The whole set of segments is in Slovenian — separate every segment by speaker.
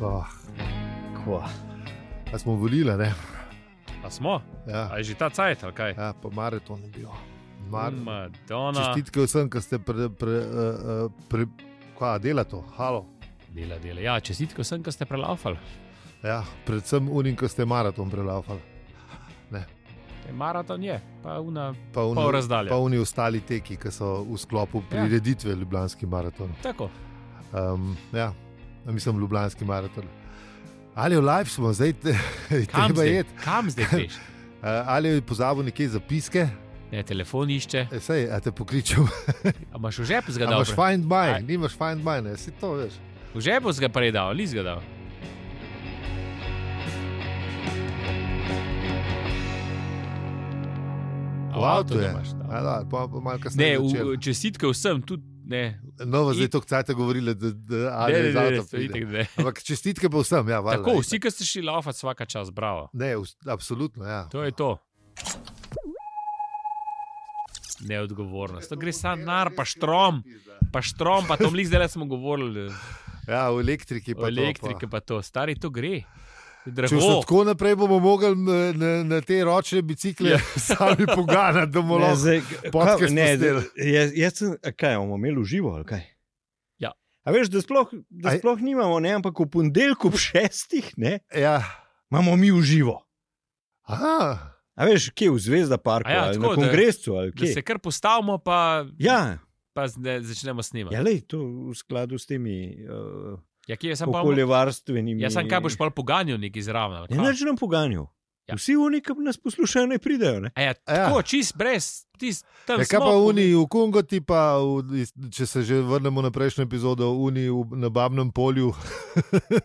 Speaker 1: Oh,
Speaker 2: Kva.
Speaker 1: a smo volili, ne?
Speaker 3: A smo?
Speaker 1: Ja,
Speaker 3: A je že ta cajt, ali kaj? Mm,
Speaker 1: ja pa maraton je bil. Mar
Speaker 3: Madonna.
Speaker 1: Čestitke vsem, ki ste pre, pre, uh, pre, kva, dela to, halo.
Speaker 3: Dela, dela. Ja, čestitke vsem, ki ste prelaufali.
Speaker 1: Ja, predvsem unim, ki ste maraton prelafali.
Speaker 3: E, Maraton je, pa una.
Speaker 1: Pa oni,
Speaker 3: Pol razdalje.
Speaker 1: pa oni ostali teki, ki so v sklopu prireditve ja. Ljubljanski maraton.
Speaker 3: Tako.
Speaker 1: Um, ja, mislim, Ljubljanski maraton. Ali je live smo, zdaj te,
Speaker 3: Kam
Speaker 1: treba
Speaker 3: zdaj,
Speaker 1: jeti.
Speaker 3: kam zdaj greš?
Speaker 1: Uh, ali je pozabil neke zapiske,
Speaker 3: Ne, telefon išče.
Speaker 1: E, sej, a te pokličem.
Speaker 3: A imaš v žepu
Speaker 1: A
Speaker 3: zgadal?
Speaker 1: Imaš find my,
Speaker 3: Ja, Aj.
Speaker 1: nimaš find my, ne, si to veš.
Speaker 3: V žepu zga prej dal, ali zgadal. A
Speaker 1: V avtu je.
Speaker 3: nimaš, da.
Speaker 1: A, da, pa, pa malo
Speaker 3: Ne,
Speaker 1: kasneje.
Speaker 3: v,
Speaker 1: v...
Speaker 3: čestitke vsem, tudi ne.
Speaker 1: Novo zdaj
Speaker 3: it-
Speaker 1: to kcajte govorili, da, da ali
Speaker 3: Ne, ne,
Speaker 1: je
Speaker 3: ne,
Speaker 1: za
Speaker 3: ne,
Speaker 1: to
Speaker 3: to itak ne.
Speaker 1: Ampak čestitke pa vsem, ja, valjda.
Speaker 3: Tako, vsi, ki ste šli laufati, vsaka čas, bravo.
Speaker 1: Ne, vs- absolutno, ja.
Speaker 3: To je to. Neodgovornost. To gre sam nar, pa štrom, pa štrom, pa to mlih zdaj le smo govorili.
Speaker 1: Ja, v elektriki pa to, pa.
Speaker 3: O elektrike pa to, stari to gre.
Speaker 1: Če bomo
Speaker 3: Drago.
Speaker 1: tako naprej, bomo mogli na, na, na te ročne bicikle
Speaker 3: Ja.
Speaker 1: sami poganjati, da bomo lahko.
Speaker 2: zdaj,
Speaker 1: podcast
Speaker 2: kaj- ne,
Speaker 1: posneli.
Speaker 2: zdaj, jaz, jaz sem, a kaj bomo imeli v živo ali kaj?
Speaker 3: Ja.
Speaker 2: A veš, da sploh, da
Speaker 1: Aj.
Speaker 2: sploh nimamo, ne, ampak v ponedeljku ob šestih ne,
Speaker 1: Ja.
Speaker 2: imamo mi v živo.
Speaker 1: Aha,
Speaker 2: A veš, kje v Zvezda parku,
Speaker 3: A ja,
Speaker 2: ja, ali
Speaker 3: tako,
Speaker 2: na
Speaker 3: da-
Speaker 2: kongresu, ali
Speaker 3: Da
Speaker 2: kje.
Speaker 3: se kar postavimo, pa,
Speaker 2: Ja,
Speaker 3: pa ne, začnemo snemati.
Speaker 2: ja lej, to v skladu s temi uh,
Speaker 3: Ja, kje je sam pa okolje?
Speaker 2: okoljevarstvenimi.
Speaker 3: Jaz sem kaj boš pol poganjal, neki zraven.
Speaker 2: Ne, neč nam poganjal.
Speaker 3: Ja.
Speaker 2: Ja. Vsi oni, ki nas poslušajo, ne pridejo. Ne?
Speaker 3: A ja, tako, čist brez, tis, tam
Speaker 1: ja, kaj
Speaker 3: smo,
Speaker 1: pa
Speaker 3: po-
Speaker 1: Uni v Kongo, ti pa, v, če se že vrnemo na prejšnjo epizodo, Uni v, na Babnem polju.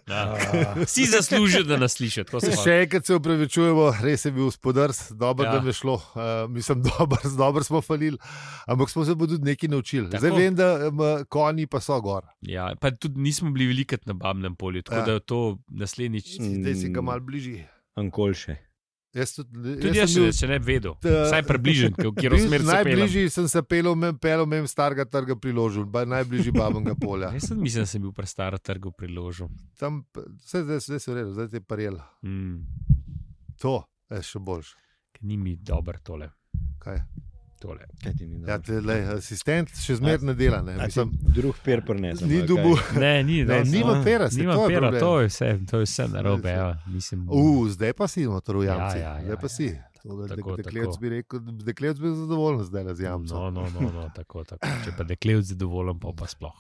Speaker 3: Ja. Vsi zaslužijo, da nas slišijo. tako se pravi.
Speaker 1: Še enkrat se upravičujemo, res je bil spodrs, dobro,
Speaker 3: Ja.
Speaker 1: ja. da mi je šlo, uh, mislim, dobro, dobro smo falili, ampak smo se pa tudi nekaj naučili. Tako. Zdaj
Speaker 3: Tako.
Speaker 1: vem, da um, konji pa so gor.
Speaker 3: Ja, pa tudi nismo bili velikrat na Babnem polju, tako
Speaker 1: Ja.
Speaker 3: da je to naslednjič.
Speaker 1: Zdaj si ga
Speaker 2: Mm.
Speaker 1: malo bližje.
Speaker 2: Ankolše.
Speaker 1: Jaz tudi,
Speaker 3: Tudi jaz, jaz če ne bi vedel,
Speaker 1: eh,
Speaker 3: vsaj približen, kjer
Speaker 1: Bliž-
Speaker 3: osmer se peljem.
Speaker 1: Najbližji sem se pelil, mem- pelil mem starega trga priložil, najbližji babnega polja.
Speaker 3: Jaz sem mislil, da sem bil pri starem trgu priložen.
Speaker 1: Tam, p- vse zdaj, zdaj se ureda, zdaj te parjela.
Speaker 3: Mm,
Speaker 1: To je še boljš.
Speaker 3: ker ni mi dobro tole.
Speaker 1: Kaj?
Speaker 3: tole.
Speaker 1: Ja, te, lej, asistent še zmerno dela. Ne, mislim,
Speaker 2: Drug per prenesel.
Speaker 1: ni dubu.
Speaker 3: Ne, ni
Speaker 1: Ne,
Speaker 3: dosti.
Speaker 1: nima
Speaker 2: a,
Speaker 1: pera, se
Speaker 3: Nima
Speaker 1: to je
Speaker 3: pera,
Speaker 1: problem.
Speaker 3: to je vse, to je vse na robe.
Speaker 1: Res je.
Speaker 3: Mislim,
Speaker 1: U, zdaj pa si motor v
Speaker 3: Ja,
Speaker 1: jamci.
Speaker 3: ja, ja,
Speaker 1: Zdaj pa
Speaker 3: ja,
Speaker 1: si.
Speaker 3: ja.
Speaker 1: Tole de-
Speaker 3: Tako,
Speaker 1: Deklevc
Speaker 3: tako.
Speaker 1: bi rekel, deklevc bi bil zadovoljen zdaj z jamcem.
Speaker 3: no, no, no, no, tako, tako. Če pa dekle zadovoljen, pa, pa sploh.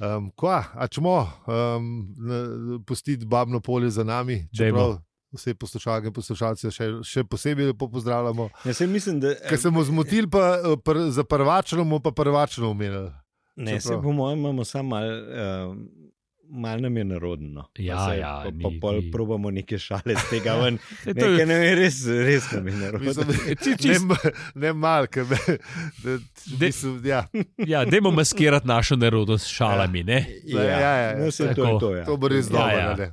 Speaker 1: Um, kva, a čmo um, na- pustiti babno polje za nami,
Speaker 3: Dajmo.
Speaker 1: čeprav vse poslušalke in poslušalce še, še posebej lepo pozdravljamo.
Speaker 2: Jaz Ja, mislim, da eh,
Speaker 1: Ker se bomo zmotili, pa eh, pr, za prvačno bomo pa prvačno omenili.
Speaker 2: ne, se
Speaker 1: čeprav-
Speaker 2: po mojem imamo samo malo. Um, Mal nam je narodno. Pa
Speaker 3: Ja,
Speaker 2: se-
Speaker 3: ja,
Speaker 2: pa,
Speaker 3: ni-
Speaker 2: pa pol
Speaker 3: ni.
Speaker 2: probamo neke šale z tega ven.
Speaker 3: E, to
Speaker 2: Nekaj
Speaker 3: je,
Speaker 2: nam je res, res nam je narodno.
Speaker 1: Mislim, ne
Speaker 3: čisto-
Speaker 1: ma- ne malo, ker me. da-
Speaker 3: De-
Speaker 1: Mislim, ja,
Speaker 3: ja, dajmo maskirati našo nerodnost s šalami. Ne?
Speaker 1: Ja, ja, ja,
Speaker 2: no, se, to
Speaker 3: tako.
Speaker 2: je to. Ja.
Speaker 1: to bo res
Speaker 3: Ja,
Speaker 1: dobro.
Speaker 3: ja.
Speaker 1: a ne.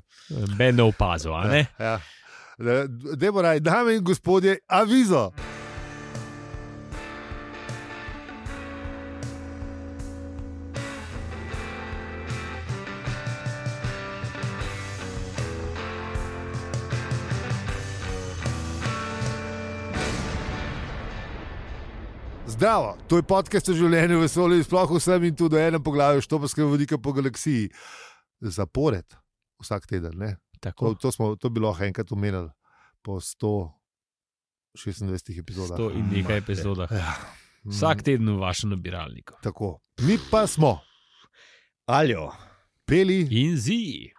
Speaker 3: Ben ne opazil, a ne?
Speaker 1: Ja. Da- Dajmo raj, dame in gospodje, avizo. Zdravo, to je podcast o življenju, vesolju, in sploh vsem in tudi o enem poglavju štoparskega vodika po galaksiji. Zapored, vsak teden, ne? To,
Speaker 3: Tako.
Speaker 1: to, smo, to bi lahko enkrat omenili po 126 epizodah.
Speaker 3: To in nekaj epizodah.
Speaker 1: Ja. Mm,
Speaker 3: Vsak teden v vašem nabiralniku.
Speaker 1: Tako. Mi pa smo
Speaker 2: Aljo,
Speaker 1: peli,
Speaker 3: In zi.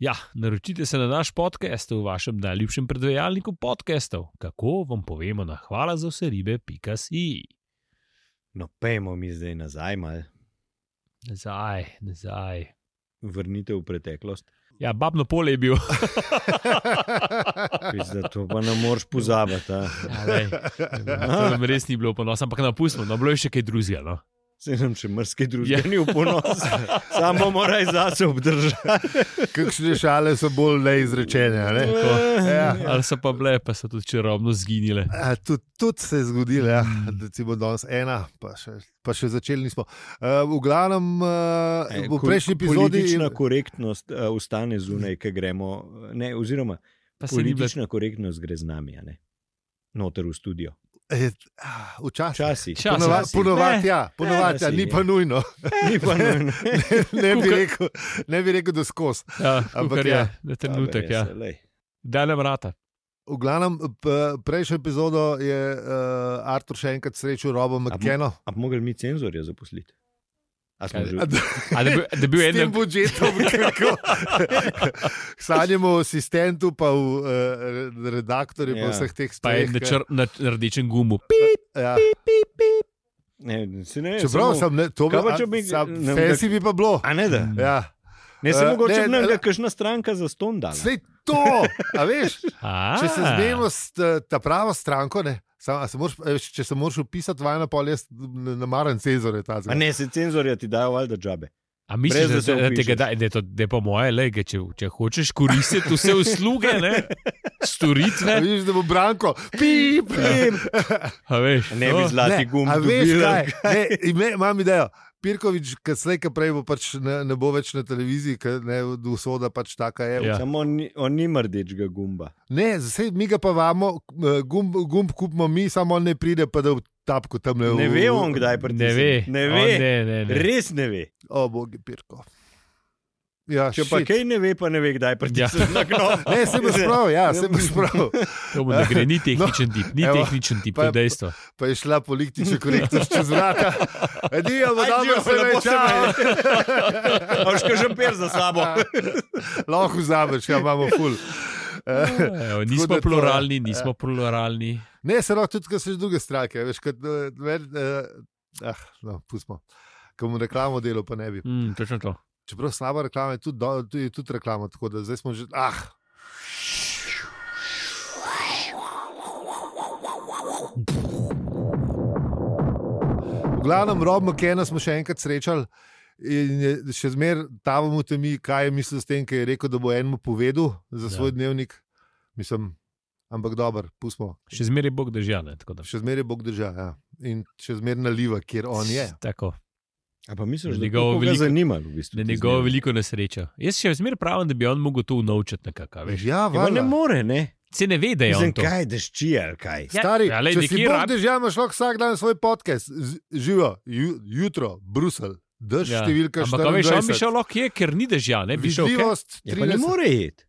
Speaker 3: Ja, naročite se na naš podcast v vašem najljubšem predvajalniku podcastov. Kako vam povemo na hvala za vse ribe, pika si.
Speaker 2: no pejmo mi zdaj nazaj, mal.
Speaker 3: Nazaj, nazaj.
Speaker 2: vrnite v preteklost.
Speaker 3: Ja, babno polje je bil.
Speaker 2: Pizda, to pa ne moreš pozabiti. a.
Speaker 3: Ja, lej, to nam res ni bilo ponosno, ampak napustimo, no bilo je še kaj drugega. No.
Speaker 2: Se nam še mrske družbe
Speaker 1: Ja.
Speaker 2: ni v ponos, samo moraj zase obdržati.
Speaker 1: Kakšne šale so bolj neizrečene. a Ne? Ja.
Speaker 3: Ali so pa bile, pa so tudi čarobno zginile.
Speaker 1: A, Tudi tud se je zgodilo, ja. recimo danes ena, pa še, pa še začeli nismo. Uh, v glavnem, uh, v prejšnji epizodi
Speaker 2: E, Politična korektnost uh, ustane zunaj, ki gremo. Ne, oziroma,
Speaker 3: Pa se ni bilo.
Speaker 2: politična korektnost gre z nami, a ne? noter v studio.
Speaker 1: Eh, ah, Včasih.
Speaker 2: Včasih.
Speaker 3: Včasih.
Speaker 1: Ponova- Ponovadi,
Speaker 3: Včasih.
Speaker 2: Ne.
Speaker 1: ja, ponovadi, ja,
Speaker 2: Ne,
Speaker 1: ni pa nujno.
Speaker 2: Ni pa nujno.
Speaker 1: Ne bi
Speaker 3: Kukar-
Speaker 1: rekel, ne bi rekel da skozi.
Speaker 3: Ja,
Speaker 1: Ampak
Speaker 3: kukar
Speaker 1: ja.
Speaker 3: je, na trenutek, ja. Da nam rata.
Speaker 1: V glavnem, p- prejšnjo epizodo je uh, Artur še enkrat srečal Robo
Speaker 2: bo-
Speaker 1: McKeno.
Speaker 2: A bi mogli mi cenzorja zaposliti? A smo
Speaker 3: Kaj?
Speaker 2: že-
Speaker 3: A Da bi, da bi
Speaker 1: S tem
Speaker 3: en,
Speaker 1: budžetom, kako sanjamo o asistentu, pa v uh, redaktorju, pa
Speaker 2: Ja.
Speaker 1: vseh teh ja.
Speaker 3: pa
Speaker 1: stvari.
Speaker 3: en na, čr, na, na rdečem gumu. Pip,
Speaker 1: Ja.
Speaker 2: Ne, se ne,
Speaker 1: Čeprav
Speaker 2: samo-
Speaker 1: sem ne, to
Speaker 2: Kaj pa,
Speaker 1: a-
Speaker 2: če bi-
Speaker 1: sam,
Speaker 2: ne,
Speaker 1: fancy bi pa bilo.
Speaker 2: A ne, da.
Speaker 1: Ja.
Speaker 2: Ne, se
Speaker 1: Eh,
Speaker 2: mogoče
Speaker 1: ne,
Speaker 2: nam
Speaker 1: ne.
Speaker 2: da kakšna stranka za ston dala.
Speaker 1: Vse to, a veš,
Speaker 3: A,
Speaker 1: če se zmenimo s t- ta pravo stranko, ne. Sam, a se moraš, a veš, če se moraš upisati vanj, pa jaz ne ne maram cenzore.
Speaker 2: A ne, se cenzorja ti dajo valjda džabe.
Speaker 3: A misliš,
Speaker 2: brez,
Speaker 3: da,
Speaker 2: da
Speaker 3: da,
Speaker 2: se
Speaker 3: da, tega
Speaker 2: vpišeš.
Speaker 3: da, da, je to- da je po moje, le, če, če hočeš koristiti vse usluge, ne, storitve,
Speaker 1: Viš, da bo branko, pip,
Speaker 2: Ja.
Speaker 1: pip.
Speaker 3: a veš, no.
Speaker 2: Ne
Speaker 3: to-
Speaker 2: bi zlati gum.
Speaker 1: a veš
Speaker 2: dobila.
Speaker 1: kaj? Ne, ime, imam idejo. Pirkovič, kasneje, ki prej bo pač ne, ne bo več na televiziji, ker ne usoda pač taka je.
Speaker 3: Ja.
Speaker 2: Samo on ni- on nima rdečega gumba.
Speaker 1: Ne, zdaj mi ga pa vamo, eh, gumb, gumb kupimo mi, samo on ne pride, pa da v tapku tam le
Speaker 2: Ne ve on, kdaj
Speaker 3: Ne
Speaker 2: pritisne.
Speaker 3: ve,
Speaker 2: Ne
Speaker 3: on
Speaker 2: ve.
Speaker 3: Ne, ne, ne.
Speaker 2: Res ne ve.
Speaker 1: O, bogi, Pirko. Ja,
Speaker 2: Če pa
Speaker 1: shit.
Speaker 2: kaj ne ve, pa ne ve, kdaj pritisne na knop.
Speaker 1: Ne, se boš prav, ja, se boš prav.
Speaker 3: To mu ne gre, ni tehničen no, tip, ni
Speaker 1: evo,
Speaker 3: evo, tehničen tip,
Speaker 1: pa
Speaker 3: to je
Speaker 1: je-
Speaker 3: dejstvo.
Speaker 1: Pa je šla politična korektnost čez vrata. Adijo,
Speaker 2: Adijo,
Speaker 1: dobro se
Speaker 2: lepo
Speaker 1: več,
Speaker 2: se A še že per za sabo.
Speaker 1: lahko vzameš, ja, imamo ful. Eh,
Speaker 3: Evo,
Speaker 1: da
Speaker 3: nismo
Speaker 1: to-
Speaker 3: pluralni, nismo pluralni.
Speaker 1: Ne, se lahko tudi, ker so že druge stranke, veš, kot eh, ver, eh, ah, no, pustimo. Ko mu reklamo delo, pa ne bi.
Speaker 3: Mm, točno to.
Speaker 1: Čeprav slaba reklama je tudi, do, tudi, tudi reklama, tako da zdaj smo že. Ah, V glavnem, Rob McKenna smo še enkrat srečali in je še zmeraj tavamo temi, kaj je mislil s tem, ker je rekel, da bo enemu povedal za
Speaker 3: Ja.
Speaker 1: svoj ja. dnevnik. Mislim, ampak dober, pustimo.
Speaker 3: Še zmeraj Bog držal. ne, tako da.
Speaker 1: Še zmeraj Bog drža ja. in še zmeraj naliva, kjer on je.
Speaker 3: Tako,
Speaker 2: A pa misliš,
Speaker 3: Njegovo
Speaker 2: da njegovo veliko
Speaker 3: veliko-
Speaker 2: zanima, v bistvu.
Speaker 3: na
Speaker 2: ti
Speaker 3: njegovo
Speaker 2: zmeraj?
Speaker 3: veliko nesrečo. Jaz še zmeraj pravim, da bi on mogel to unovčiti nekako. a veš.
Speaker 1: Ja,
Speaker 2: Ja, pa ne
Speaker 1: valjda.
Speaker 2: more, ne.
Speaker 3: Se ne ve, da je
Speaker 2: Mislim,
Speaker 3: on to.
Speaker 2: kaj dešči ali kaj.
Speaker 3: Ja,
Speaker 1: Stari,
Speaker 3: ja,
Speaker 1: ja,
Speaker 3: lej,
Speaker 1: če si
Speaker 3: nekje
Speaker 1: Bog
Speaker 3: rab-
Speaker 1: držal, imaš lahko vsak dan svoj podcast, Z- živo, ju, jutro, Bruselj, drž ja. številka
Speaker 3: Ampak a veš, on
Speaker 1: 24.
Speaker 3: bi šel lahko je, ker ni držal, ne bi šel. kaj?
Speaker 1: Vidljivost
Speaker 2: Ja, pa ne
Speaker 1: 30.
Speaker 2: more iti,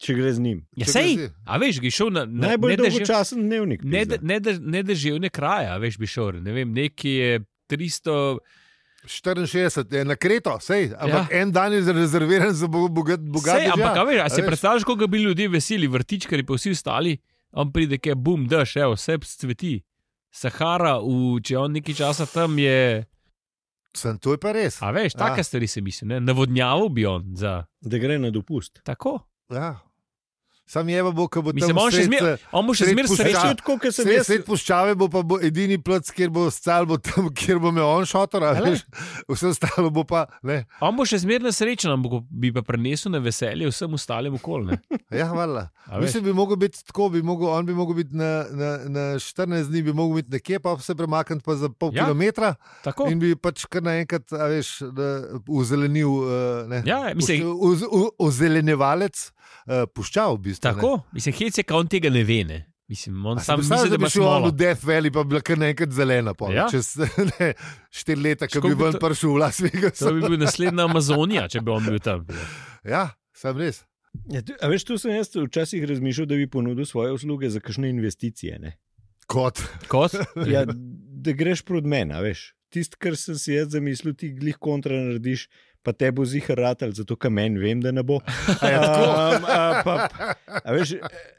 Speaker 2: če gre z njim.
Speaker 3: Ja,
Speaker 1: Če
Speaker 3: sej,
Speaker 1: drži.
Speaker 3: a veš, bi šel na na-
Speaker 2: Najbolj
Speaker 3: nedržav-
Speaker 2: dolgočasen dnevnik.
Speaker 3: ne-
Speaker 2: pizda.
Speaker 3: ne- ne- nedržavne kraje, a veš, bi šel. Ne vem, neki je 300.
Speaker 1: 64 je na kreto, sej, ampak ja. en dan je rezerviran za bo- bogat, bogat
Speaker 3: Sej, ampak, a veš, a
Speaker 1: A
Speaker 3: si
Speaker 1: veš?
Speaker 3: predstavljaš, koliko bi ljudje veseli, vrtičkari pa vsi ostali, on pride, ki je bum, daš, evo, vse cveti. Sahara, v, če je on nekaj časa tam je.
Speaker 1: Sem, to je pa res.
Speaker 3: A veš, take
Speaker 1: Ja.
Speaker 3: stvari se misli, ne? navodnjavo bi on za
Speaker 2: Da gre na dopust.
Speaker 3: tako.
Speaker 1: Ja. Sam je pa bo, ko bo
Speaker 3: Mislim,
Speaker 1: tam eh,
Speaker 3: on, še
Speaker 1: sred,
Speaker 3: zmer, on bo še
Speaker 1: sred
Speaker 3: zmeraj
Speaker 1: puščave.
Speaker 2: Veš,
Speaker 1: Ja.
Speaker 3: srečen.
Speaker 2: tudi tako, kot sem
Speaker 1: Sred,
Speaker 2: jaz.
Speaker 1: sred puščave bo pa bo edini plac, kjer bo stal, bo tam, kjer bo me on šotor, a
Speaker 3: A le?
Speaker 1: veš, vse ostalo bo pa. Ne.
Speaker 3: On bo še zmeraj srečen, ampak bi pa prenesel na veselje vsem ostalim okolje.
Speaker 1: Ja, hvala. Mislim, bi mogel biti tako, bi mogel, on bi mogel biti na, na, na 14 dni, bi mogel biti nekje, pa se premakniti pa za pol ja.
Speaker 3: Ja.
Speaker 1: kilometra
Speaker 3: Tako.
Speaker 1: in bi pač kar naenkrat, a veš, da uzelenil. eh, Ne,
Speaker 3: Ja, mislim-
Speaker 1: pušč- oz- o- Ozelenjevalec eh, puščav, v bistvu. ne.
Speaker 3: Tako, mislim, hec je, ka on tega ne ve. Ne? Mislim, on
Speaker 1: A si
Speaker 3: sam
Speaker 1: predstavljaš,
Speaker 3: misli, da
Speaker 1: da
Speaker 3: ima
Speaker 1: bi šel on
Speaker 3: šlo.
Speaker 1: v Death Valley, pa bi bila kar naenkrat zelena. Pol,
Speaker 3: Ja.
Speaker 1: ja. Čez ne, štiri leta, ko
Speaker 3: Škoda
Speaker 1: bi
Speaker 3: bi
Speaker 1: ven
Speaker 3: to-
Speaker 1: prišel v Las Vegas.
Speaker 3: To bi bil naslednja Amazonija, če bi on bil tam.
Speaker 1: Ja, sem res.
Speaker 2: Ja, tu- a veš, tu sem jaz včasih razmišljal, da bi ponudil svoje usluge za kakšne investicije. Ne?
Speaker 1: Kot.
Speaker 3: Kot?
Speaker 2: Ja, da greš proti meni, a veš. Tisto, kar sem si jaz zamislil, ti glih kontra narediš, pa te bo zihar ratal, zato ker meni vem, da ne bo.
Speaker 1: A Ja, je tako?
Speaker 2: Um, a, pa, a veš,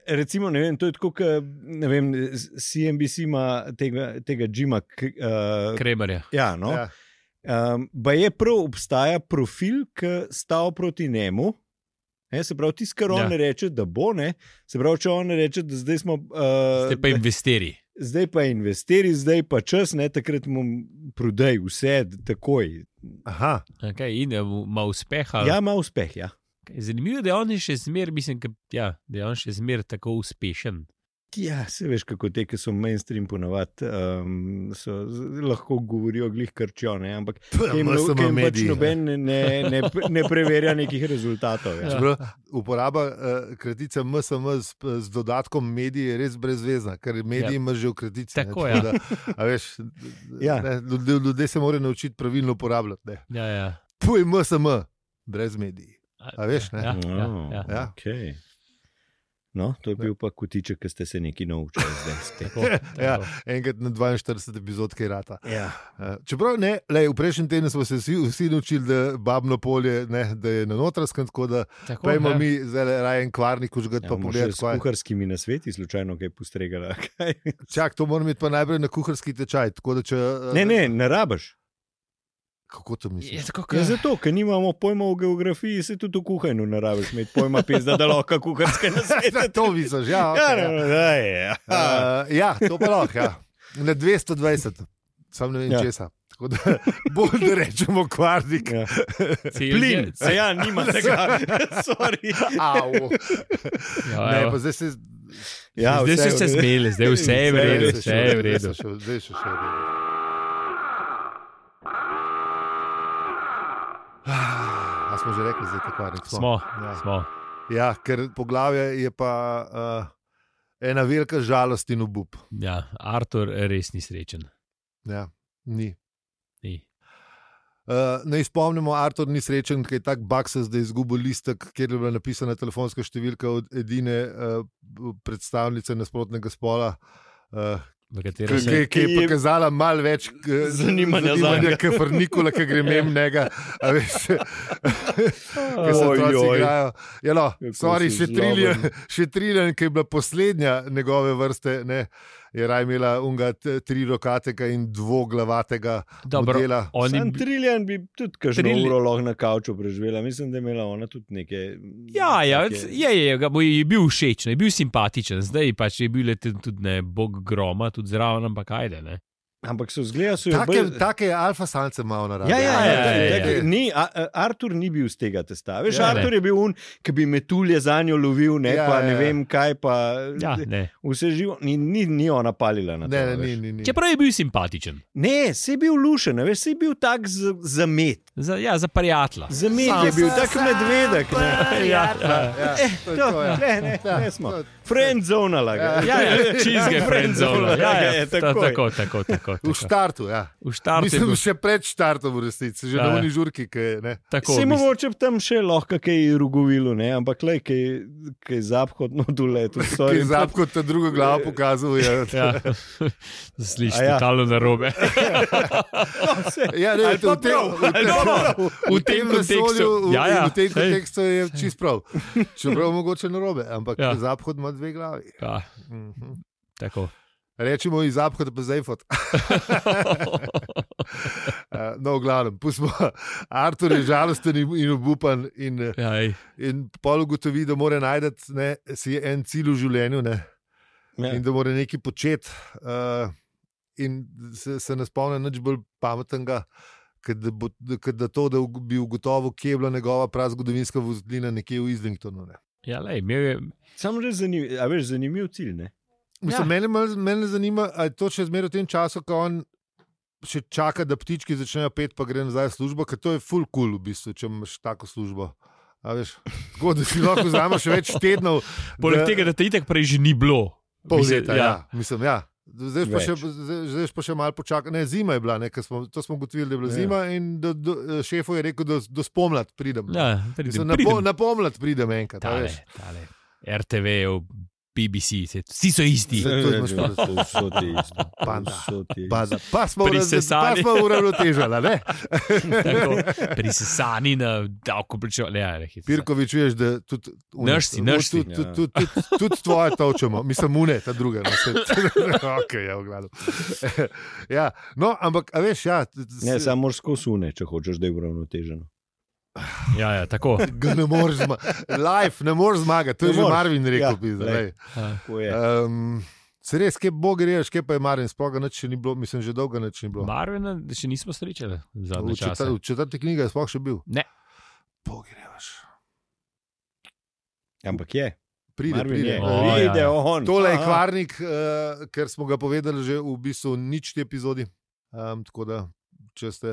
Speaker 2: recimo, ne vem, to je tako, kot ne vem, CNBC ima tega, tega Jima. K- Uh,
Speaker 3: Kremerja.
Speaker 2: ja, no.
Speaker 1: Ja.
Speaker 2: Um, ba je prav, obstaja profil, ki stav proti njemu. Ne, se pravi, tisto, kar on
Speaker 3: Ja.
Speaker 2: ja. reče, da bo, ne, se pravi, če on reče, da zdaj smo. Uh,
Speaker 3: Ste pa investirali.
Speaker 2: zdaj pa investiri, zdaj pa čas, ne takrat mu prodaj vse takoj.
Speaker 1: Aha,
Speaker 3: Okay, in eh, ima uspeha.
Speaker 2: Ja, ima uspeh. Ja.
Speaker 3: Kaj, Zanimivo je, da je on še zmeraj, mislim, ka, ja, da je on še zmeraj tako uspešen.
Speaker 2: Ja, se veš, kako te, ki so mainstream ponavadi, um, so, z- lahko govorijo glih krčijo, ne? ampak tem,
Speaker 1: Pojma, sem
Speaker 2: tem pač
Speaker 1: medij.
Speaker 2: noben ne, ne, ne preverja nekih rezultatov. Ja.
Speaker 1: Čeprav Uporaba uh, kratice MSM s, s dodatkom medij je res brezvezna, ker mediji
Speaker 3: Ja.
Speaker 1: ima že v kratici. ne, tako
Speaker 3: Tako, ja.
Speaker 1: da, a veš,
Speaker 2: Ja.
Speaker 1: ne, ljudje, ljudje se morajo naučiti pravilno uporabljati. ne.
Speaker 3: Ja, ja.
Speaker 1: Puj MSM, brez medij. A veš, ne?
Speaker 3: Ja, ja, ja.
Speaker 1: ja.
Speaker 2: Okay. Oh, No, to je bil pa kotiček, ki ste se nekaj naučili zdaj. s tem.
Speaker 3: Tako,
Speaker 1: Ja.
Speaker 3: tako.
Speaker 1: Enkrat na 42 epizod, kaj rata.
Speaker 2: Ja.
Speaker 1: Eh, Čeprav ne, lej, v prejšnjem tednu smo se vsi, vsi naučili, da babno polje ne, da je na notranjskem, tako da
Speaker 3: Tako,
Speaker 1: pojmo
Speaker 3: ja.
Speaker 1: mi zdaj raje en kvarnik, kot ga
Speaker 2: Ja,
Speaker 1: pa
Speaker 2: bomo še
Speaker 1: pogledati.
Speaker 2: S
Speaker 1: kaj-
Speaker 2: kuharskimi nasveti slučajno kaj postregala. Kaj?
Speaker 1: Čak, to moram imeti pa najprej na kuharski tečaj. tako da Če, eh,
Speaker 2: Ne, ne, ne rabaš.
Speaker 1: Kako to misliš?
Speaker 3: Je tako,
Speaker 2: Ja,
Speaker 3: kot
Speaker 2: zato, ker nimamo pojma o geografiji, se tudi v kuhanju ne rabiš imeti pojma, pizda, da lahko kuharske
Speaker 1: Ja,
Speaker 2: nasvete.
Speaker 1: to misliš, ja.
Speaker 2: Ja,
Speaker 1: Okay,
Speaker 2: ne,
Speaker 1: ja.
Speaker 2: ne, da je. ja.
Speaker 1: Uh, ja, to pa lahko. Ja. Na 220, sam ne vem ja.
Speaker 2: Ja.
Speaker 1: česa. Tako da bolj da rečemo kvarnik.
Speaker 2: Ja.
Speaker 3: plin.
Speaker 2: Plin, se ja, nima tega. Sorry.
Speaker 1: Au.
Speaker 3: Ja,
Speaker 1: Ne,
Speaker 3: evo.
Speaker 1: pa zdaj se
Speaker 2: Ja,
Speaker 3: zdaj
Speaker 2: vse
Speaker 3: so se
Speaker 2: v redu.
Speaker 3: zmeli, zdaj vse je v
Speaker 2: Vse je
Speaker 3: redu,
Speaker 2: v redu,
Speaker 3: vse je v redu.
Speaker 1: Zdaj se še- Zdaj še še v redu. Ah, A smo že rekli, da je to kvarnik?
Speaker 3: Smo,
Speaker 1: Ja.
Speaker 3: smo.
Speaker 1: ja, ker poglavje je pa uh, ena velika žalost in obup.
Speaker 3: Ja, Artur res ni srečen.
Speaker 1: Ja, ni.
Speaker 3: Ni.
Speaker 1: Uh, naj spomnimo, Artur ni srečen, ker je tako baksas, da je izgubil listek, kjer je bila napisana telefonska številka od edine uh, predstavnice nasprotnega spola. Uh,
Speaker 3: V
Speaker 1: ki,
Speaker 3: katerem
Speaker 1: ki,
Speaker 3: se
Speaker 1: ki je
Speaker 2: Ki je-
Speaker 1: pokazala malo več k-
Speaker 2: Zanimanja zanj.
Speaker 1: zanimanja kot Frnikola, ki gre mem njega. a veš, Ker se
Speaker 2: Oj,
Speaker 1: otroci
Speaker 2: oj.
Speaker 1: igrajo. Ja, no,
Speaker 2: Kako
Speaker 1: sorry,
Speaker 2: si
Speaker 1: še triljen,
Speaker 2: zloben.
Speaker 1: še triljen, ki je bila poslednja njegove vrste, ne, je raj imela unga t- tri rokatega in dvoglavatega
Speaker 3: dobro.
Speaker 1: modela.
Speaker 3: On je
Speaker 2: Sam triljen bi tudi kažno
Speaker 3: Trillian.
Speaker 2: uro lahko na kavču preživela. Mislim, da je imela ona tudi neke.
Speaker 3: Ja, ja
Speaker 2: neke-
Speaker 3: je, je, ga bo- je bil všeč, ne, je bil simpatičen, zdaj pač je bil le ten tudi ne, bog groma, tudi zraven, ampak ajde. Ne.
Speaker 2: Ampak so zgleda, so jo
Speaker 1: Take,
Speaker 2: bolj-
Speaker 1: take alfa sance imamo na rabi.
Speaker 2: Ja, ja, ja,
Speaker 3: Ja,
Speaker 2: ja,
Speaker 3: ja,
Speaker 2: ja,
Speaker 3: ja.
Speaker 2: ja. Ni, a, a, Artur ni bil z tega testa. Veš,
Speaker 1: Ja,
Speaker 2: ja,
Speaker 1: ne.
Speaker 2: Artur ne. je bil un, ki bi metulje za njo lovil, ne
Speaker 1: Ja,
Speaker 2: ja, pa
Speaker 1: ja,
Speaker 2: ne
Speaker 1: ja.
Speaker 2: ja. vem kaj, pa
Speaker 3: Ja, ne.
Speaker 2: vse živo. Ni, ni, ni ona palila na to.
Speaker 1: Ne, ne,
Speaker 2: veš.
Speaker 1: ni, ni, ni.
Speaker 3: Čeprav je bil simpatičen,
Speaker 2: ne, si bil lušen, a veš, si bil tak z- zamet.
Speaker 3: za, ja, za prijatelja.
Speaker 2: Zamet
Speaker 3: Sam
Speaker 2: je bil, tak medvedek. Ne. Eh,
Speaker 3: Ja, ja.
Speaker 1: Ja, to je
Speaker 2: To,
Speaker 1: to, ja.
Speaker 2: ne, ne,
Speaker 1: Ja,
Speaker 2: ne smo.
Speaker 1: to je-
Speaker 2: Friend zonala. ga.
Speaker 3: Ja, ja, čizge
Speaker 2: Ja,
Speaker 3: friendzone. Ja,
Speaker 2: ja,
Speaker 3: ja,
Speaker 2: ja,
Speaker 3: ta-
Speaker 2: takoj.
Speaker 3: tako, tako, tako.
Speaker 1: V
Speaker 3: tako.
Speaker 1: štartu, ja.
Speaker 3: V štartu je
Speaker 1: Mislim,
Speaker 3: bil
Speaker 1: še pred štartom, v resnici, že
Speaker 3: Ja,
Speaker 1: na
Speaker 3: ja.
Speaker 1: uni žurki. ki je, ne.
Speaker 3: tako.
Speaker 2: Se
Speaker 3: mislim-
Speaker 2: mogoče bi tam še lahko kaj rugovilo, ne? ampak le kaj, kaj zaphodno doletu.
Speaker 1: Ki je zapko ta drugo glavo pokazal. Je.
Speaker 3: Ja. Slišiš,
Speaker 2: A ja.
Speaker 3: ja. totalno narobe.
Speaker 1: Ja, ne,
Speaker 2: Ali
Speaker 1: v,
Speaker 2: pa
Speaker 1: tem,
Speaker 2: prav,
Speaker 1: v, tem, v tem vesolju, v,
Speaker 3: Ja, ja.
Speaker 1: v tem
Speaker 3: sej.
Speaker 1: kontekstu je čist prav. Čeprav mogoče narobe, ampak ja.
Speaker 3: Ja.
Speaker 1: zaphod ima dve glavi.
Speaker 3: Ja,
Speaker 1: Mhm.
Speaker 3: tako.
Speaker 1: Rečemo iz zaphod, pa zdaj fot. Eh, No, v glavnem, pustimo. Artur je žalosten in in obupan in eh,
Speaker 3: Ja, ej.
Speaker 1: In pol ugotovi, da mora najti ne, si en cilj v življenju ne,
Speaker 2: Ja.
Speaker 1: in da mora nekaj početi. Uh, in se, se ne spomni nič bolj pametnega, kot da, bo, kot da to, da ug- bi ugotovil, kje je bila njegova prazgodovinska vozlina, nekje v Islingtonu. Ne.
Speaker 3: ja lej, imel je.
Speaker 2: Sam že zanimiv, a veš, zanimiv cilj. Ne?
Speaker 1: Mislim,
Speaker 3: Ja.
Speaker 1: ja. mene, malo- mene zanima, ali je to še zmeraj v tem času, ko on še čaka, da ptički začnejo pet, pa gre nazaj v službo, ker to je full cool, v bistvu, če imaš tako službo. A veš, Tako da si lahko vzameš še več tednov.
Speaker 3: Poleg tega, da te itek prej že ni bilo.
Speaker 1: Pol
Speaker 3: Mislim,
Speaker 1: leta, ja. ja. Mislim, ja. Zdaj pa,
Speaker 2: Več.
Speaker 1: še, zdaj, zdaj pa še malo počakaj. Ne, zima je bila, ne, ker smo, to smo ugotovili, da je bila
Speaker 2: Ja.
Speaker 1: ja. zima. In do, do, šefu je rekel, da do spomlad pridem.
Speaker 3: Ja, pridem,
Speaker 1: Mislim, na,
Speaker 3: pridem.
Speaker 1: po, na pomlad pridem enkrat. a
Speaker 3: Tale,
Speaker 1: veš.
Speaker 3: tale. RTV, BBC, se- vsi so isti.
Speaker 1: Zdaj to je naš prst. Panda. Pa,
Speaker 2: Panda.
Speaker 1: da- pa smo uravnotežili, pa
Speaker 3: Prisesani.
Speaker 1: smo uravnotežili. a ne?
Speaker 3: Tako, Prisesani na davkoplačevalce. Ja, ne, hec.
Speaker 1: Pirkovič, veš, da tudi
Speaker 3: Naš si, naš si. ja.
Speaker 1: Tudi tud, tud, tud, tud tvoje točemo, mislim, une, ta druga. No, se, okay, ja, v glavnem. ja, no, ampak, a veš, ja, t- t-
Speaker 2: Ne,
Speaker 1: se-
Speaker 2: samo morsko sune, če hočeš, da je uravnoteženo.
Speaker 3: ja, ja, tako.
Speaker 1: ga ne moreš zmagati. Life ne moreš zmagati, to je
Speaker 2: Ne
Speaker 1: že
Speaker 2: moreš.
Speaker 1: Marvin rekel.
Speaker 2: Ja,
Speaker 1: pizda,
Speaker 2: glej.
Speaker 1: glej.
Speaker 3: Ja.
Speaker 2: Tako je.
Speaker 1: Um, Se res, kje bo greš, kje pa je Marvin, spoga noč še ni bilo, mislim, že dolgo noč ni bilo.
Speaker 3: Marvina še nismo srečali
Speaker 1: V,
Speaker 3: zadnjič.
Speaker 1: četrti, v četrti knjigi je sploh še bil.
Speaker 3: Ne.
Speaker 1: Bog greš.
Speaker 2: Ampak je.
Speaker 1: Eh, Pride,
Speaker 2: Marvin
Speaker 1: pride.
Speaker 2: je.
Speaker 3: O, ja,
Speaker 2: Pride
Speaker 3: ja.
Speaker 2: on.
Speaker 1: Tole je
Speaker 2: Aha.
Speaker 1: kvarnik, uh, ker smo ga povedali že v bistvu nič te epizodi. Um, tako da, če ste.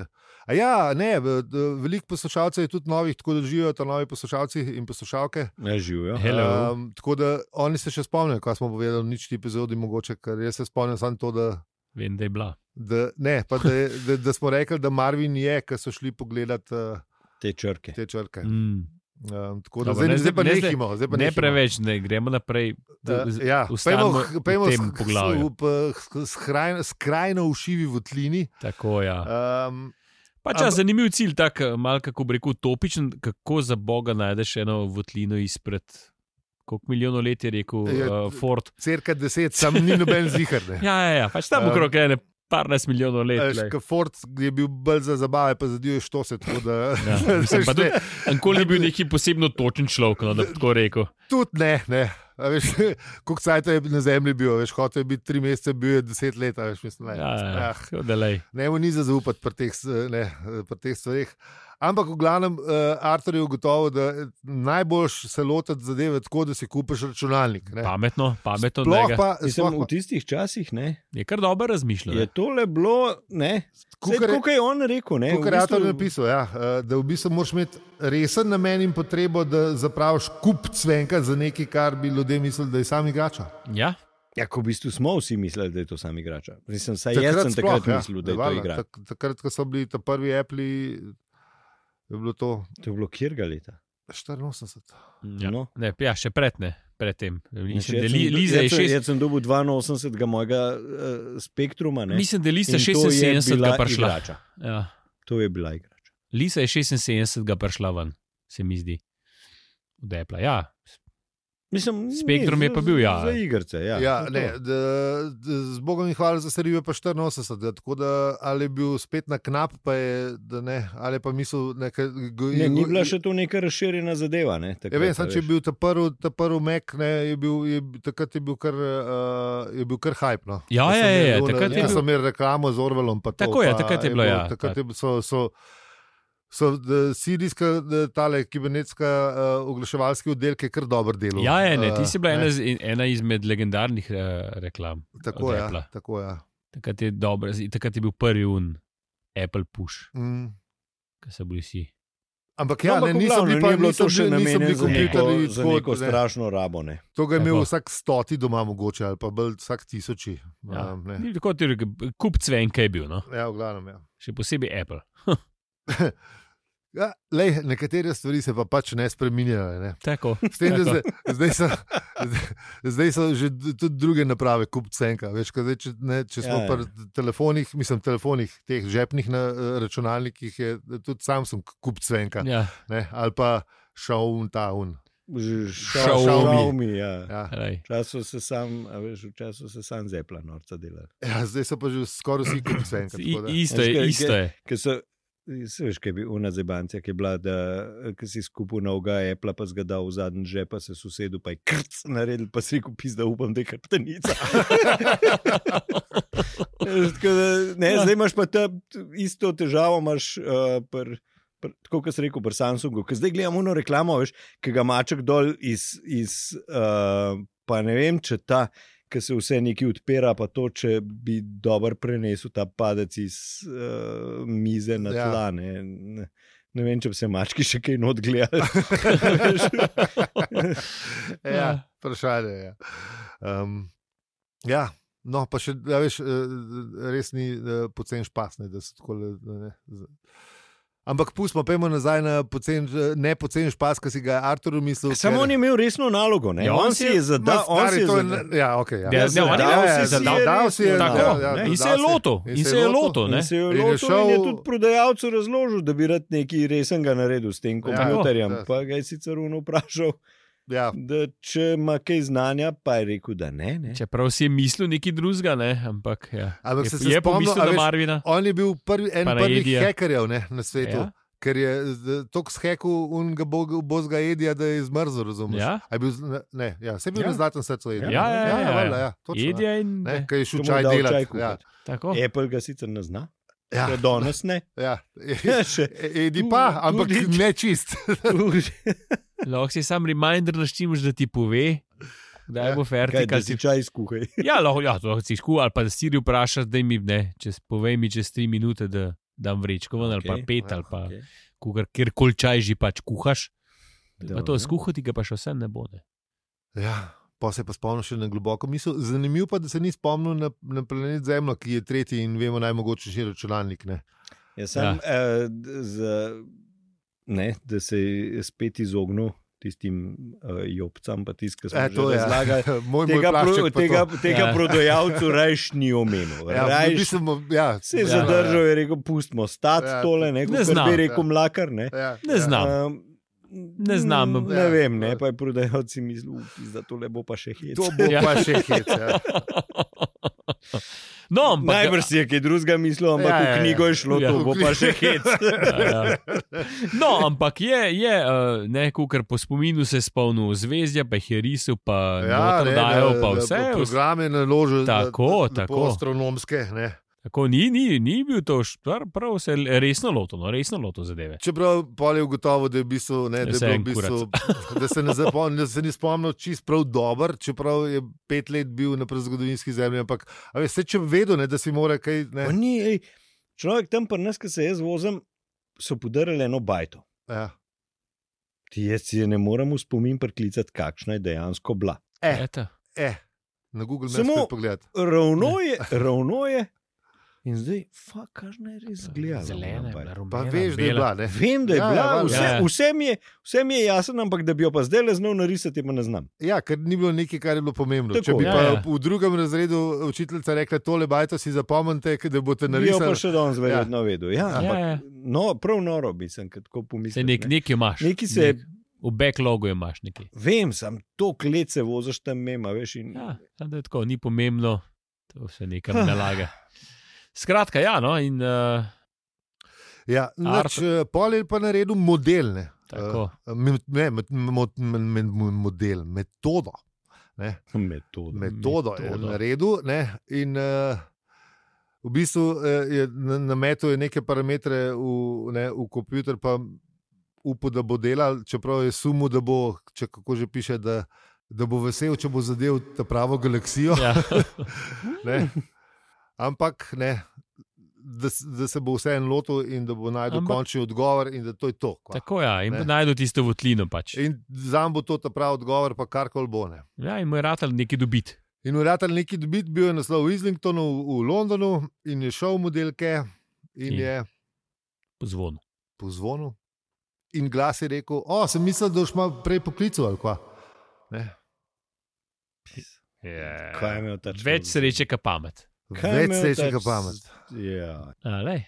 Speaker 1: A ja, ne, v- d- veliko poslušalcev je tudi novih, tako da živijo tam novi poslušalci in poslušalke.
Speaker 2: Ja, živijo.
Speaker 3: Hello.
Speaker 1: Um, tako da oni se še spomnijo, kaj smo povedali, nič ti epizodi, mogoče, ker jaz se spomnim samo to, da,
Speaker 3: Vem, da je bila.
Speaker 1: da, ne, pa da, je- da, da smo rekli, da Marvin je, ker so šli pogledat uh,
Speaker 2: Te črke.
Speaker 1: te črke.
Speaker 3: Mm.
Speaker 1: Um, tako da,
Speaker 3: Dobro,
Speaker 1: zdaj,
Speaker 3: ne,
Speaker 1: ne,
Speaker 3: zdaj
Speaker 1: zdaj pa
Speaker 3: ne,
Speaker 1: ne
Speaker 3: zdaj-
Speaker 1: himo. Zdaj pa
Speaker 3: Ne
Speaker 1: nehimo.
Speaker 3: preveč, ne gremo naprej.
Speaker 1: Da,
Speaker 3: Z-
Speaker 1: ja,
Speaker 3: ostanimo
Speaker 1: pojdimo
Speaker 3: v
Speaker 1: h- pojdimo
Speaker 3: tem
Speaker 1: s-
Speaker 3: poglavju.
Speaker 1: s- v- eh, h- skrajno- Skrajno ušivi v tlini.
Speaker 3: Tako, ja.
Speaker 1: Um,
Speaker 3: Pač, ja,
Speaker 1: ampak-
Speaker 3: zanimiv cilj, tako malo, kako bi rekel, topičen, kako za boga najdeš eno votlino izpred. Koliko milijonov let je rekel
Speaker 1: Je-
Speaker 3: uh, Ford?
Speaker 1: cirka deset, sam ni noben zihar. ne.
Speaker 3: Ja, ja, ja pač tam
Speaker 1: Um,
Speaker 3: okrog ene, parnajst milijonov let.
Speaker 1: A veš,
Speaker 3: Ja, glej.
Speaker 1: ke Ford je bil bolj za zabave, pa zadeve što se tako. Da,
Speaker 3: Ja, mislim, pa
Speaker 1: veš,
Speaker 3: tudi,
Speaker 1: ne,
Speaker 3: nikoli ni bil neki posebno točen človek, no, da bi tako rekel.
Speaker 1: tudi ne. ne. A Veš, koliko cajt je na zemlji bil, a veš, hotel je biti tri mesece, bil je deset let. a Veš, mislim, ne,
Speaker 3: Ja, ja,
Speaker 1: ah,
Speaker 3: tako da lej.
Speaker 1: ne mu ni za zaupati pri teh, s- ne, pri teh stvareh. Ampak v glavnem, uh, Artur je ugotovil, da eh, najboljš se lotiti zadeve tako, da si kupiš računalnik. Ne.
Speaker 3: Pametno, pametno.
Speaker 1: Eh.
Speaker 3: da
Speaker 1: Sploh
Speaker 3: ga-
Speaker 1: pa, sploh
Speaker 2: Mislim,
Speaker 1: pa
Speaker 2: v tistih časih ne,
Speaker 3: Je kar dobro razmišljal.
Speaker 2: je
Speaker 3: ne.
Speaker 2: tole bilo, ne, Sej,
Speaker 1: Kukar je-
Speaker 2: tako kot je on rekel. Ne,
Speaker 1: Kot
Speaker 2: v
Speaker 1: je
Speaker 2: bistvu-
Speaker 1: avtor napisal, ja, eh, da v bistvu moraš imeti resen namen in potrebo, da zapraviš kup cvenka za nekaj, kar bi ljudje mislili, da je sam igrača.
Speaker 3: Ja,
Speaker 2: Ja, ko v bistvu smo vsi mislili, da je to sam igrač. Mislim, saj jaz sem takrat
Speaker 1: ja,
Speaker 2: mislil, da je to
Speaker 1: valjda,
Speaker 2: igra.
Speaker 1: tak- Takrat, ko so bili ta prvi Apple, je bilo to
Speaker 2: To je bilo kjerga leta.
Speaker 1: 84.
Speaker 3: ja.
Speaker 2: No.
Speaker 3: Ne, ja še pred ne, pred tem. Mislim,
Speaker 2: Jaz
Speaker 3: da
Speaker 2: sem
Speaker 3: li,
Speaker 2: do-
Speaker 3: Liza je
Speaker 2: jaz sem-
Speaker 3: šest.
Speaker 2: Jaz sem dobil 82 mojega uh, spektruma. Ne?
Speaker 3: Mislim, da Lisa
Speaker 2: In to je
Speaker 3: 76
Speaker 2: bila
Speaker 3: prišla.
Speaker 2: Igrača.
Speaker 3: Ja.
Speaker 2: To je bila igrača.
Speaker 3: Lisa je 76 prišla ven, se mi zdi. Od Apple, ja.
Speaker 2: Mislim, ni,
Speaker 3: Spektrum je
Speaker 2: za-
Speaker 3: pa bil, ja.
Speaker 2: Za igrce, ja.
Speaker 1: Ja, ja,
Speaker 2: to je
Speaker 1: ne,
Speaker 2: to.
Speaker 1: da, da, z Bogom in hvala za serijo, pa 84. Tako da ali je bil spet na knap, pa je, da ne, ali je pa mislil, da
Speaker 2: Ne, ni bila še to neka razširjena zadeva. Ne,
Speaker 1: Ja,
Speaker 2: takrat,
Speaker 1: vem, sem, če je
Speaker 2: veš.
Speaker 1: bil ta prvi, ta prvi Mek, ne, je bil, je, bil- takrat je bil kar, uh, je bil kar hype. No. Ko
Speaker 3: Ja,
Speaker 1: so
Speaker 3: ja, ja,
Speaker 1: imeli
Speaker 3: ja,
Speaker 1: ono-
Speaker 3: takrat je
Speaker 1: ko
Speaker 3: bil-
Speaker 1: So imeli reklamo z Orvelom. pa To,
Speaker 3: Tako je,
Speaker 1: pa
Speaker 3: takrat je bilo, ja.
Speaker 1: Takrat je, so, so, so eh, sirijska, eh, tale kibernetska uh, oglaševalski oddelek je kar Eh, dober del.
Speaker 3: Ja, je, ne, ti si bila ena, iz- ena izmed legendarnih eh, reklam.
Speaker 1: Tako
Speaker 3: od
Speaker 1: je,
Speaker 3: Appla.
Speaker 1: ja, tako je. Ja.
Speaker 3: Takrat je, dobro, takrat je bil prvi un Apple push,
Speaker 1: Mm.
Speaker 3: ki so bili vsi.
Speaker 1: Ampak
Speaker 2: No,
Speaker 1: ja,
Speaker 2: ampak
Speaker 1: ne,
Speaker 2: v
Speaker 1: niso
Speaker 2: glavnem,
Speaker 1: bili pa
Speaker 2: ni bilo
Speaker 1: niso
Speaker 2: to še
Speaker 1: bili- niso
Speaker 2: namenjeno
Speaker 1: bili
Speaker 2: za neko,
Speaker 1: kompjuterji
Speaker 2: za
Speaker 1: tako,
Speaker 2: neko
Speaker 1: ne.
Speaker 2: strašno rabo. Ne.
Speaker 1: To ga je
Speaker 3: Tako.
Speaker 1: imel vsak stoti doma, mogoče, ali pa bolj vsak tisoči.
Speaker 3: Ja.
Speaker 1: Um, ne.
Speaker 3: Ni Tako ti rekel, kup cvenka je bil, no?
Speaker 1: ja, v glavnem. Ja.
Speaker 3: še posebej Apple.
Speaker 1: Ja, lej, nekatere stvari se pa pač ne spremenjajo. Ne?
Speaker 3: Tako.
Speaker 1: S Tem, da
Speaker 3: Tako.
Speaker 1: zdaj, zdaj, so, zdaj- zdaj so že d- tudi druge naprave, kupcenka. Veš, ko zdaj, če, ne, če smo
Speaker 2: Ja, ja.
Speaker 1: ja, pri telefonih, mislim, telefonih, teh žepnih na eh, računalnikih, je tudi Samsung kupcenka. Ja.
Speaker 3: Ja,
Speaker 1: Ali pa Shaun Town.
Speaker 2: Ž-
Speaker 1: Xiaomi.
Speaker 2: Xiaomi, ja.
Speaker 1: Ja.
Speaker 3: lej.
Speaker 2: Včasih se sam, a veš, včasih se sam zepla norca delali.
Speaker 1: Ja, zdaj so pa že skoraj vsi kupcenka.
Speaker 3: I,
Speaker 1: tako da-
Speaker 3: isto je,
Speaker 2: Veš, kaj-
Speaker 3: isto je.
Speaker 2: Ker so, se veš, kaj je bila ona zebancija, ki je bila, da ki si skupil novega Apple, pa zgadal v zadnji žep, pa se sosedu, pa je krc naredil, pa si rekel, pizda, upam, da je kartanica. Tako da, ne,
Speaker 3: Ja.
Speaker 2: zdaj imaš pa ta t- isto težavo, imaš uh, pr. pr- Tako kot sem rekel, pri Samsungu, ker zdaj gledamo eno reklamo, veš, ki ga maček dol iz, iz uh, pa ne vem, če ta, ki se vse nekaj odpira, pa to, če bi dobro prenesel ta padec iz uh, mize na
Speaker 1: Ja.
Speaker 2: tla. Ne, ne, ne vem, če bi se mački še kaj not gledali. Veš?
Speaker 1: ja, vprašanje je. Um, ja, no, pa še, da veš, eh, res ni eh, pocen špasne, da so tako. Ne, z- Ampak pustimo, pojmo nazaj na pocen, eh, ne pocen špas, ki si ga je Artur No, umislil.
Speaker 2: Samo on je imel resno nalogo, ne?
Speaker 3: Ja,
Speaker 2: Ja,
Speaker 3: on
Speaker 2: on
Speaker 3: si
Speaker 2: si
Speaker 3: je-
Speaker 2: je zadal, on si je zadal.
Speaker 1: Ja, okay, ja.
Speaker 3: Ja,
Speaker 2: Ja,
Speaker 3: ne, on je
Speaker 2: zadal
Speaker 3: dal
Speaker 2: si
Speaker 3: si
Speaker 2: je
Speaker 3: zadal.
Speaker 2: res
Speaker 1: dal si je,
Speaker 2: resno
Speaker 3: Tako,
Speaker 2: nalogo,
Speaker 1: ja,
Speaker 2: ne.
Speaker 3: in se
Speaker 1: dodal
Speaker 3: je
Speaker 1: si-
Speaker 3: lotil,
Speaker 1: in
Speaker 3: in
Speaker 1: se
Speaker 3: se
Speaker 1: je
Speaker 3: je
Speaker 1: lotil,
Speaker 3: lotil. ne.
Speaker 2: In se je
Speaker 1: In je
Speaker 2: lotil in je
Speaker 1: šel-
Speaker 2: tudi prodajalcu razložil, da bi rad nekaj resnega naredil s tem kompjuterjem.
Speaker 1: ja.
Speaker 2: Pa ga je sicer uno vprašal,
Speaker 1: Ja,
Speaker 2: da če ima kaj znanja, pa je rekel, da ne. ne.
Speaker 3: Čeprav si je mislil nekaj drugega, ne? ampak ja.
Speaker 1: Ampak
Speaker 3: je,
Speaker 1: se- se
Speaker 3: je
Speaker 1: spomnil,
Speaker 3: pomislil
Speaker 1: a
Speaker 3: na
Speaker 1: veš,
Speaker 3: Marvina.
Speaker 1: on je bil prvi, en
Speaker 3: Pa na
Speaker 1: prvih
Speaker 3: Edija.
Speaker 1: hekerjev ne, na svetu.
Speaker 3: Ja.
Speaker 1: Ja? Ker je tako skekel unga bozga Edija, da je izmrzel, razumete?
Speaker 3: Ja.
Speaker 1: Bil, z- ne, ne, ja, se je bil
Speaker 2: Ja.
Speaker 1: ja. na zlatem srcu Edija.
Speaker 3: Ja, ja, ja, ja.
Speaker 1: valjda, ja, točno, ja.
Speaker 3: Edija in
Speaker 1: Ne, Ker je šel
Speaker 2: Ko mu
Speaker 1: čaj
Speaker 2: je dal
Speaker 1: delati.
Speaker 2: čaj
Speaker 1: ja,
Speaker 2: kuhati.
Speaker 3: tako.
Speaker 2: Apple ga sicer ne zna,
Speaker 1: ja,
Speaker 2: ja. danes ne.
Speaker 1: ja. E,
Speaker 2: Še
Speaker 1: Edi pa, ampak
Speaker 2: Tudi-
Speaker 1: ne čist.
Speaker 3: Lahko si sam reminder naštimaš, da ti pove, da je
Speaker 1: Ja,
Speaker 3: bo
Speaker 2: Kaj, da
Speaker 3: vertikal.
Speaker 2: si čaj skuhaj.
Speaker 3: Ja, lahko, ja, to lahko si škuh ali pa da Siri vprašaš, da mi ne, če povej mi čez tri minute, da dam vrečko ven ali
Speaker 2: Okej,
Speaker 3: pa pet
Speaker 1: ja,
Speaker 3: ali pa okay. kjer koli čaj že pač kuhaš. Pa to
Speaker 2: Dobro.
Speaker 3: skuhati ga pa še vsem ne bo. Ne.
Speaker 1: Ja, pa se je pa spomnil še na globoko misel. Zanimivo pa je, da se ni spomnil na, na planet Zemljo, ki je tretji in vemo najmogočejši računalnik. Ne?
Speaker 2: Ja, sam, ja. Uh, z, ne, da se je spet izognil tistim uh, jopcam, pa tistim, ki so
Speaker 1: E,
Speaker 2: jih
Speaker 1: to je
Speaker 2: razlagali.
Speaker 1: moj, moj
Speaker 2: Tega,
Speaker 1: plašček.
Speaker 2: pro,
Speaker 1: pa to.
Speaker 2: tega, tega
Speaker 3: Ja.
Speaker 2: prodajalcu rajš ni omenil.
Speaker 1: ja,
Speaker 2: Rajš
Speaker 1: mislim, ja,
Speaker 2: se je
Speaker 1: ja,
Speaker 2: ja, zadržal in je rekel: Pustimo, stati
Speaker 1: Ja,
Speaker 2: ja, tole, ne,
Speaker 3: ne
Speaker 2: kot
Speaker 3: znam,
Speaker 2: bi rekel,
Speaker 1: ja.
Speaker 2: mlakar. Ne,
Speaker 1: Ja,
Speaker 3: Ne
Speaker 1: ja.
Speaker 3: znam.
Speaker 2: um,
Speaker 3: Ne znam.
Speaker 2: Ne
Speaker 1: Ja.
Speaker 2: vem, ne, pa je prodajalci mislil, da tole bo pa še hit.
Speaker 1: To bo
Speaker 3: Ja.
Speaker 1: pa še hec. Ja.
Speaker 3: No, ampak,
Speaker 2: Najbrž si je kaj drugega mislil, ampak
Speaker 1: Ja,
Speaker 2: ja,
Speaker 1: ja,
Speaker 2: v
Speaker 1: ja.
Speaker 2: knjigo je šlo,
Speaker 3: Ja.
Speaker 2: ja. to bo pa še hit.
Speaker 3: Ja, ja. No, ampak je, je eh, ne, kar po spominu se je spomnil zvezdja, pa jih je risal, pa ja,
Speaker 1: ne,
Speaker 3: dajo,
Speaker 1: da-
Speaker 3: pa
Speaker 1: da
Speaker 3: vse.
Speaker 1: bo
Speaker 3: vse
Speaker 1: Programe naložil
Speaker 3: Tako, tako.
Speaker 1: astronomske. Ne.
Speaker 3: tako ni, ni, ni bil to š- prav, prav se je resno lotil, no, resno lotil zadeve.
Speaker 1: Čeprav pol je ugotovil, da, je v bistvu, ne, da,
Speaker 3: Ja,
Speaker 1: je
Speaker 3: se
Speaker 1: bilo v
Speaker 3: en
Speaker 1: bistvu, da, se ne zapomni, da se ni spomnil čist prav dober, čeprav je pet let bil na prezgodovinski zemlji. Ampak, a veš, saj če bi vedel, ne, da si mora kaj. Ne,
Speaker 2: Pa Ni, ej, človek tam pri nas, ki se jaz vozim, so podarili eno bajto.
Speaker 1: ja.
Speaker 2: Ti jaz si je ne morem v spomin priklicati, kakšna je dejansko bila.
Speaker 1: Eh.
Speaker 3: Eta.
Speaker 1: Eh, na Google Maps
Speaker 2: Samo-
Speaker 1: Samo... pogledati.
Speaker 2: Ravno je, ravno je. In zdaj, fa, kakšna je res gledala.
Speaker 3: Zelena, je bila,
Speaker 1: Pa
Speaker 3: rumena,
Speaker 1: veš, da je bila.
Speaker 3: bela.
Speaker 1: Ne?
Speaker 2: Vem, da je
Speaker 1: Ja,
Speaker 2: bila,
Speaker 1: ja,
Speaker 2: vse,
Speaker 3: ja.
Speaker 2: vse, mi je, vse mi je jasno, ampak da bi jo pa zdaj le znal narisati, pa ne znam.
Speaker 1: Ja, ker ni bilo nekaj, kar je bilo pomembno.
Speaker 2: Tako.
Speaker 1: Tako, Če bi
Speaker 3: Ja,
Speaker 1: ja, pa
Speaker 3: ja.
Speaker 1: ja. v drugem razredu učiteljica rekla: tole bajto si zapomnite, ke- da boste
Speaker 2: Bi jo pa
Speaker 1: narisali.
Speaker 2: še danes verjetno ja. vedel. Ja,
Speaker 1: Ja,
Speaker 2: ampak,
Speaker 3: ja.
Speaker 2: No, prav noro bi sem, ko tako
Speaker 3: Se
Speaker 2: pomislil.
Speaker 3: nek,
Speaker 2: ne.
Speaker 3: nekaj imaš.
Speaker 2: Nekaj se je-
Speaker 3: v backlogu imaš nekaj.
Speaker 2: Vem, sam to klet se voziš tam mema, veš. In,
Speaker 3: Ja, samo da je tako, ni pomembno, to se nekam nalaga. Skratka, ja, no, in uh,
Speaker 1: Ja, nač,
Speaker 3: Artur.
Speaker 1: eh, pol je pa naredil model. Ne,
Speaker 3: tako.
Speaker 1: Eh, me- ne met, mo- men- men- mo- model, metodo.
Speaker 2: Metoda.
Speaker 1: Metodo je
Speaker 3: Metodo.
Speaker 1: naredil. Ne, in, uh, V bistvu eh, je na- nametel je neke parametre v, ne, v komputer, pa upal, da bo delal, čeprav je sumil, da bo, če kako že piše, da, da bo vesel, če bo zadev ta pravo galaksijo.
Speaker 3: Ja.
Speaker 1: Ne? Ampak ne, da, s- da se bo vseeno lotil in da bo najdel
Speaker 3: Ampak-
Speaker 1: Ampak... končni odgovor, in da to je to. kva.
Speaker 3: Tako ja, in
Speaker 1: Ne.
Speaker 3: najdu tisto votlino. Pač.
Speaker 1: In za njim bo to ta pravi odgovor, pa kar koli bo. Ne.
Speaker 3: Ja, in mu je ratal nekaj dobiti.
Speaker 1: In uratelj neki dobit bil je naslov v Islingtonu, v, v Londonu, in je šel v modelke, in
Speaker 3: In-
Speaker 1: je
Speaker 3: Pozvon.
Speaker 1: pozvonil. In glas je rekel: O, sem mislil, da boš malo prej poklical. ali kva." Ne.
Speaker 3: Yeah.
Speaker 2: Kaj je imel ta človek?
Speaker 3: Več sreče, kot pamet.
Speaker 2: Kaj je
Speaker 1: Več
Speaker 2: imel
Speaker 1: srečnega
Speaker 2: ta-
Speaker 1: pamet.
Speaker 2: Ja.
Speaker 3: A, lej.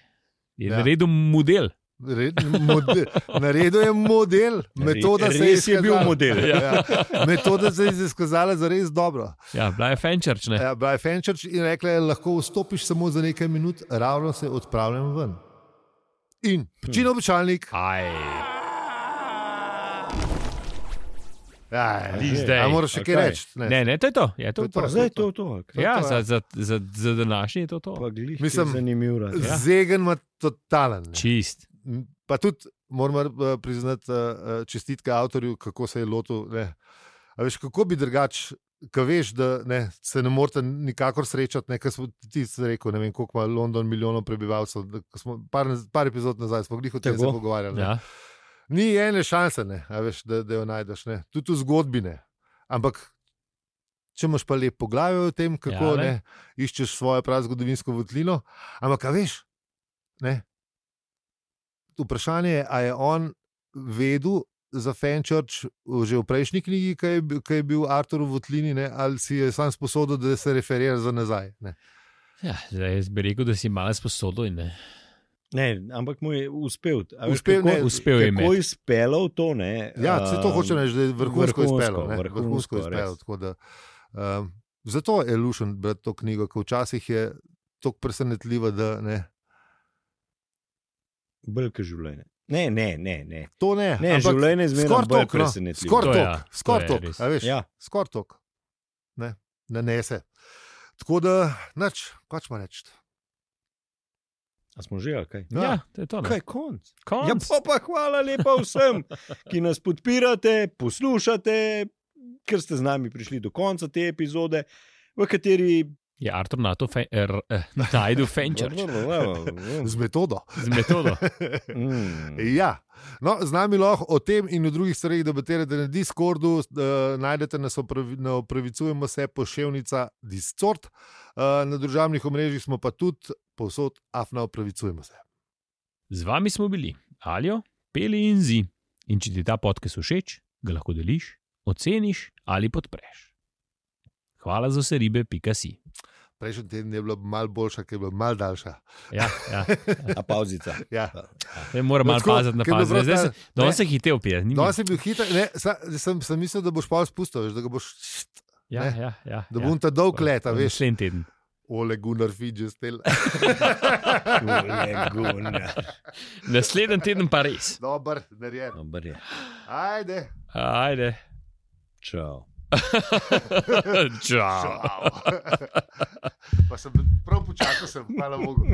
Speaker 3: je ja.
Speaker 1: Ja.
Speaker 3: naredil model.
Speaker 1: Re- mode- Naredil je model, metoda se je
Speaker 2: Res je bil
Speaker 1: izkazala.
Speaker 2: model.
Speaker 1: Ja. Metoda se je izkazala za res dobro.
Speaker 3: Ja, bila je fenčerč. Ja.
Speaker 1: Ja, Brian Fenčerč je rekla, da lahko vstopiš samo za nekaj minut, ravno se odpravljam ven.
Speaker 2: Hm.
Speaker 1: In počin običajnik.
Speaker 3: Aj,
Speaker 1: Ja,
Speaker 3: Ni zdaj.
Speaker 1: moraš še kaj
Speaker 2: Okej.
Speaker 1: reči. Ne.
Speaker 3: ne, ne, to je to. Ja, to
Speaker 1: To
Speaker 3: je
Speaker 1: je
Speaker 3: to.
Speaker 1: to.
Speaker 2: Zdaj je to, to. to
Speaker 3: Ja,
Speaker 1: to,
Speaker 3: za,
Speaker 1: ja.
Speaker 3: za, za, za današnji je to. to.
Speaker 2: Pa glih,
Speaker 1: Mislim-
Speaker 2: Mislim, zanimiv rad. Ja.
Speaker 1: Zegen ima totalen. ne.
Speaker 3: Čist.
Speaker 1: Pa tudi moramo eh, priznati eh, eh, čestitke avtorju, kako se je lotil. ne. A Veš, kako bi drugače, ko veš, da ne, se ne morete nikakor srečati, ne, kar smo ti si rekel, ne vem, koliko ima London milijonov prebivalcev. da- ko Smo, par, par epizod nazaj smo jih o tem se
Speaker 2: Tako.
Speaker 1: pogovarjali. ne.
Speaker 3: Ja.
Speaker 1: Ni ene šanse, ne, a veš, da, da jo najdeš, ne. tudi v zgodbine. Ampak, če imaš pa lep poglavje o tem, kako
Speaker 3: Ja,
Speaker 1: ja,
Speaker 3: lej.
Speaker 1: ne, iščeš svojo prazgodovinsko votlino, ampak, a veš, ne. Vprašanje je, ali je on vedel za Fenčerč že v prejšnji knjigi, ki je, bi- ko je bil Artur v votlini, ne, ali si je sam sposodil, da se referira za nazaj. Ne.
Speaker 3: Ja, zdaj jaz bi rekel, da si malo eh, sposoben. ne.
Speaker 2: Ne, ampak mu je uspel. A veš,
Speaker 1: Uspel,
Speaker 2: kako,
Speaker 1: ne.
Speaker 3: Uspel je
Speaker 2: Kako
Speaker 3: imeti.
Speaker 2: je izpeljal to? Ne,
Speaker 1: Ja, se to
Speaker 2: um,
Speaker 1: hoče reči, da je vrhunsko
Speaker 2: vrhunsko,
Speaker 1: izpeljal. ne,
Speaker 2: vrhunsko,
Speaker 1: Vrhunsko
Speaker 2: res.
Speaker 1: izpeljal. tako da, Um, zato je lušen brati to knjigo, ki včasih je tako presenetljiva, da ne.
Speaker 2: Bolj kot življenje. Ne, ne, ne. ne.
Speaker 1: To ne.
Speaker 2: ne
Speaker 1: ampak
Speaker 2: življenje je zmeraj
Speaker 1: skoraj
Speaker 2: bolj
Speaker 1: toliko, no.
Speaker 2: presenetljivo.
Speaker 1: Skoraj
Speaker 3: To ja,
Speaker 1: toliko, skoraj
Speaker 3: to je
Speaker 1: toliko,
Speaker 3: res.
Speaker 1: a veš.
Speaker 2: Ja.
Speaker 1: Skoraj toliko. Ne, ne nese. Tako da, nič, kaj smo reči.
Speaker 2: A smo že, ali
Speaker 1: No,
Speaker 2: kaj? No,
Speaker 3: Ja, to je to. ne.
Speaker 2: Kaj je konc?
Speaker 3: Konc.
Speaker 2: Ja, pa, pa hvala lepa vsem, ki nas podpirate, poslušate, ker ste z nami prišli do konca te epizode, v kateri
Speaker 3: Je Artur Nato, fe, er, eh, Najdu Fenčer
Speaker 1: Z metodo.
Speaker 3: z metodo.
Speaker 2: Mm.
Speaker 1: Ja. No, z nami lahko o tem in o drugih stvareh debatirate na Discordu, uh, najdete nas opravi- na opravičujemo se pošiljka Discord, uh, na družbenih omrežjih smo pa tudi povsod afna opravičujemo se.
Speaker 3: Z vami smo bili Aljo, Peli in Zi. In če ti ta podcast všeč, ga lahko deliš, oceniš ali podpreš. Hvala za vse ribe, pika si.
Speaker 1: Prejšnji teden je bila malo boljša, ker je bila malo daljša.
Speaker 3: Ja, ja.
Speaker 2: A pauzica.
Speaker 1: Ja.
Speaker 3: Ne morem
Speaker 1: No,
Speaker 3: malo
Speaker 1: tako,
Speaker 3: paziti na
Speaker 1: ker je bilo
Speaker 3: paziti. Zdaj se,
Speaker 1: prav ta-
Speaker 3: danes
Speaker 1: ne.
Speaker 3: se hitel pije. nima-
Speaker 1: No, si bil hiter, ne, sa, sem, sem mislil, da boš pa spustil, veš, da, ga boš, ne.
Speaker 3: Ja, ja, ja.
Speaker 1: da
Speaker 3: ja.
Speaker 1: bom ta dolg leta,
Speaker 3: V
Speaker 1: veš,
Speaker 3: Naslednji teden.
Speaker 1: ole Gunnar Fidžes tel.
Speaker 3: Naslednji teden pa res.
Speaker 1: Dober, narejen.
Speaker 2: Dobar je.
Speaker 1: Ajde.
Speaker 3: Ajde.
Speaker 2: Čau.
Speaker 3: Čau.
Speaker 1: Čau. pa sem prav počakal, sem, hvala Bogu.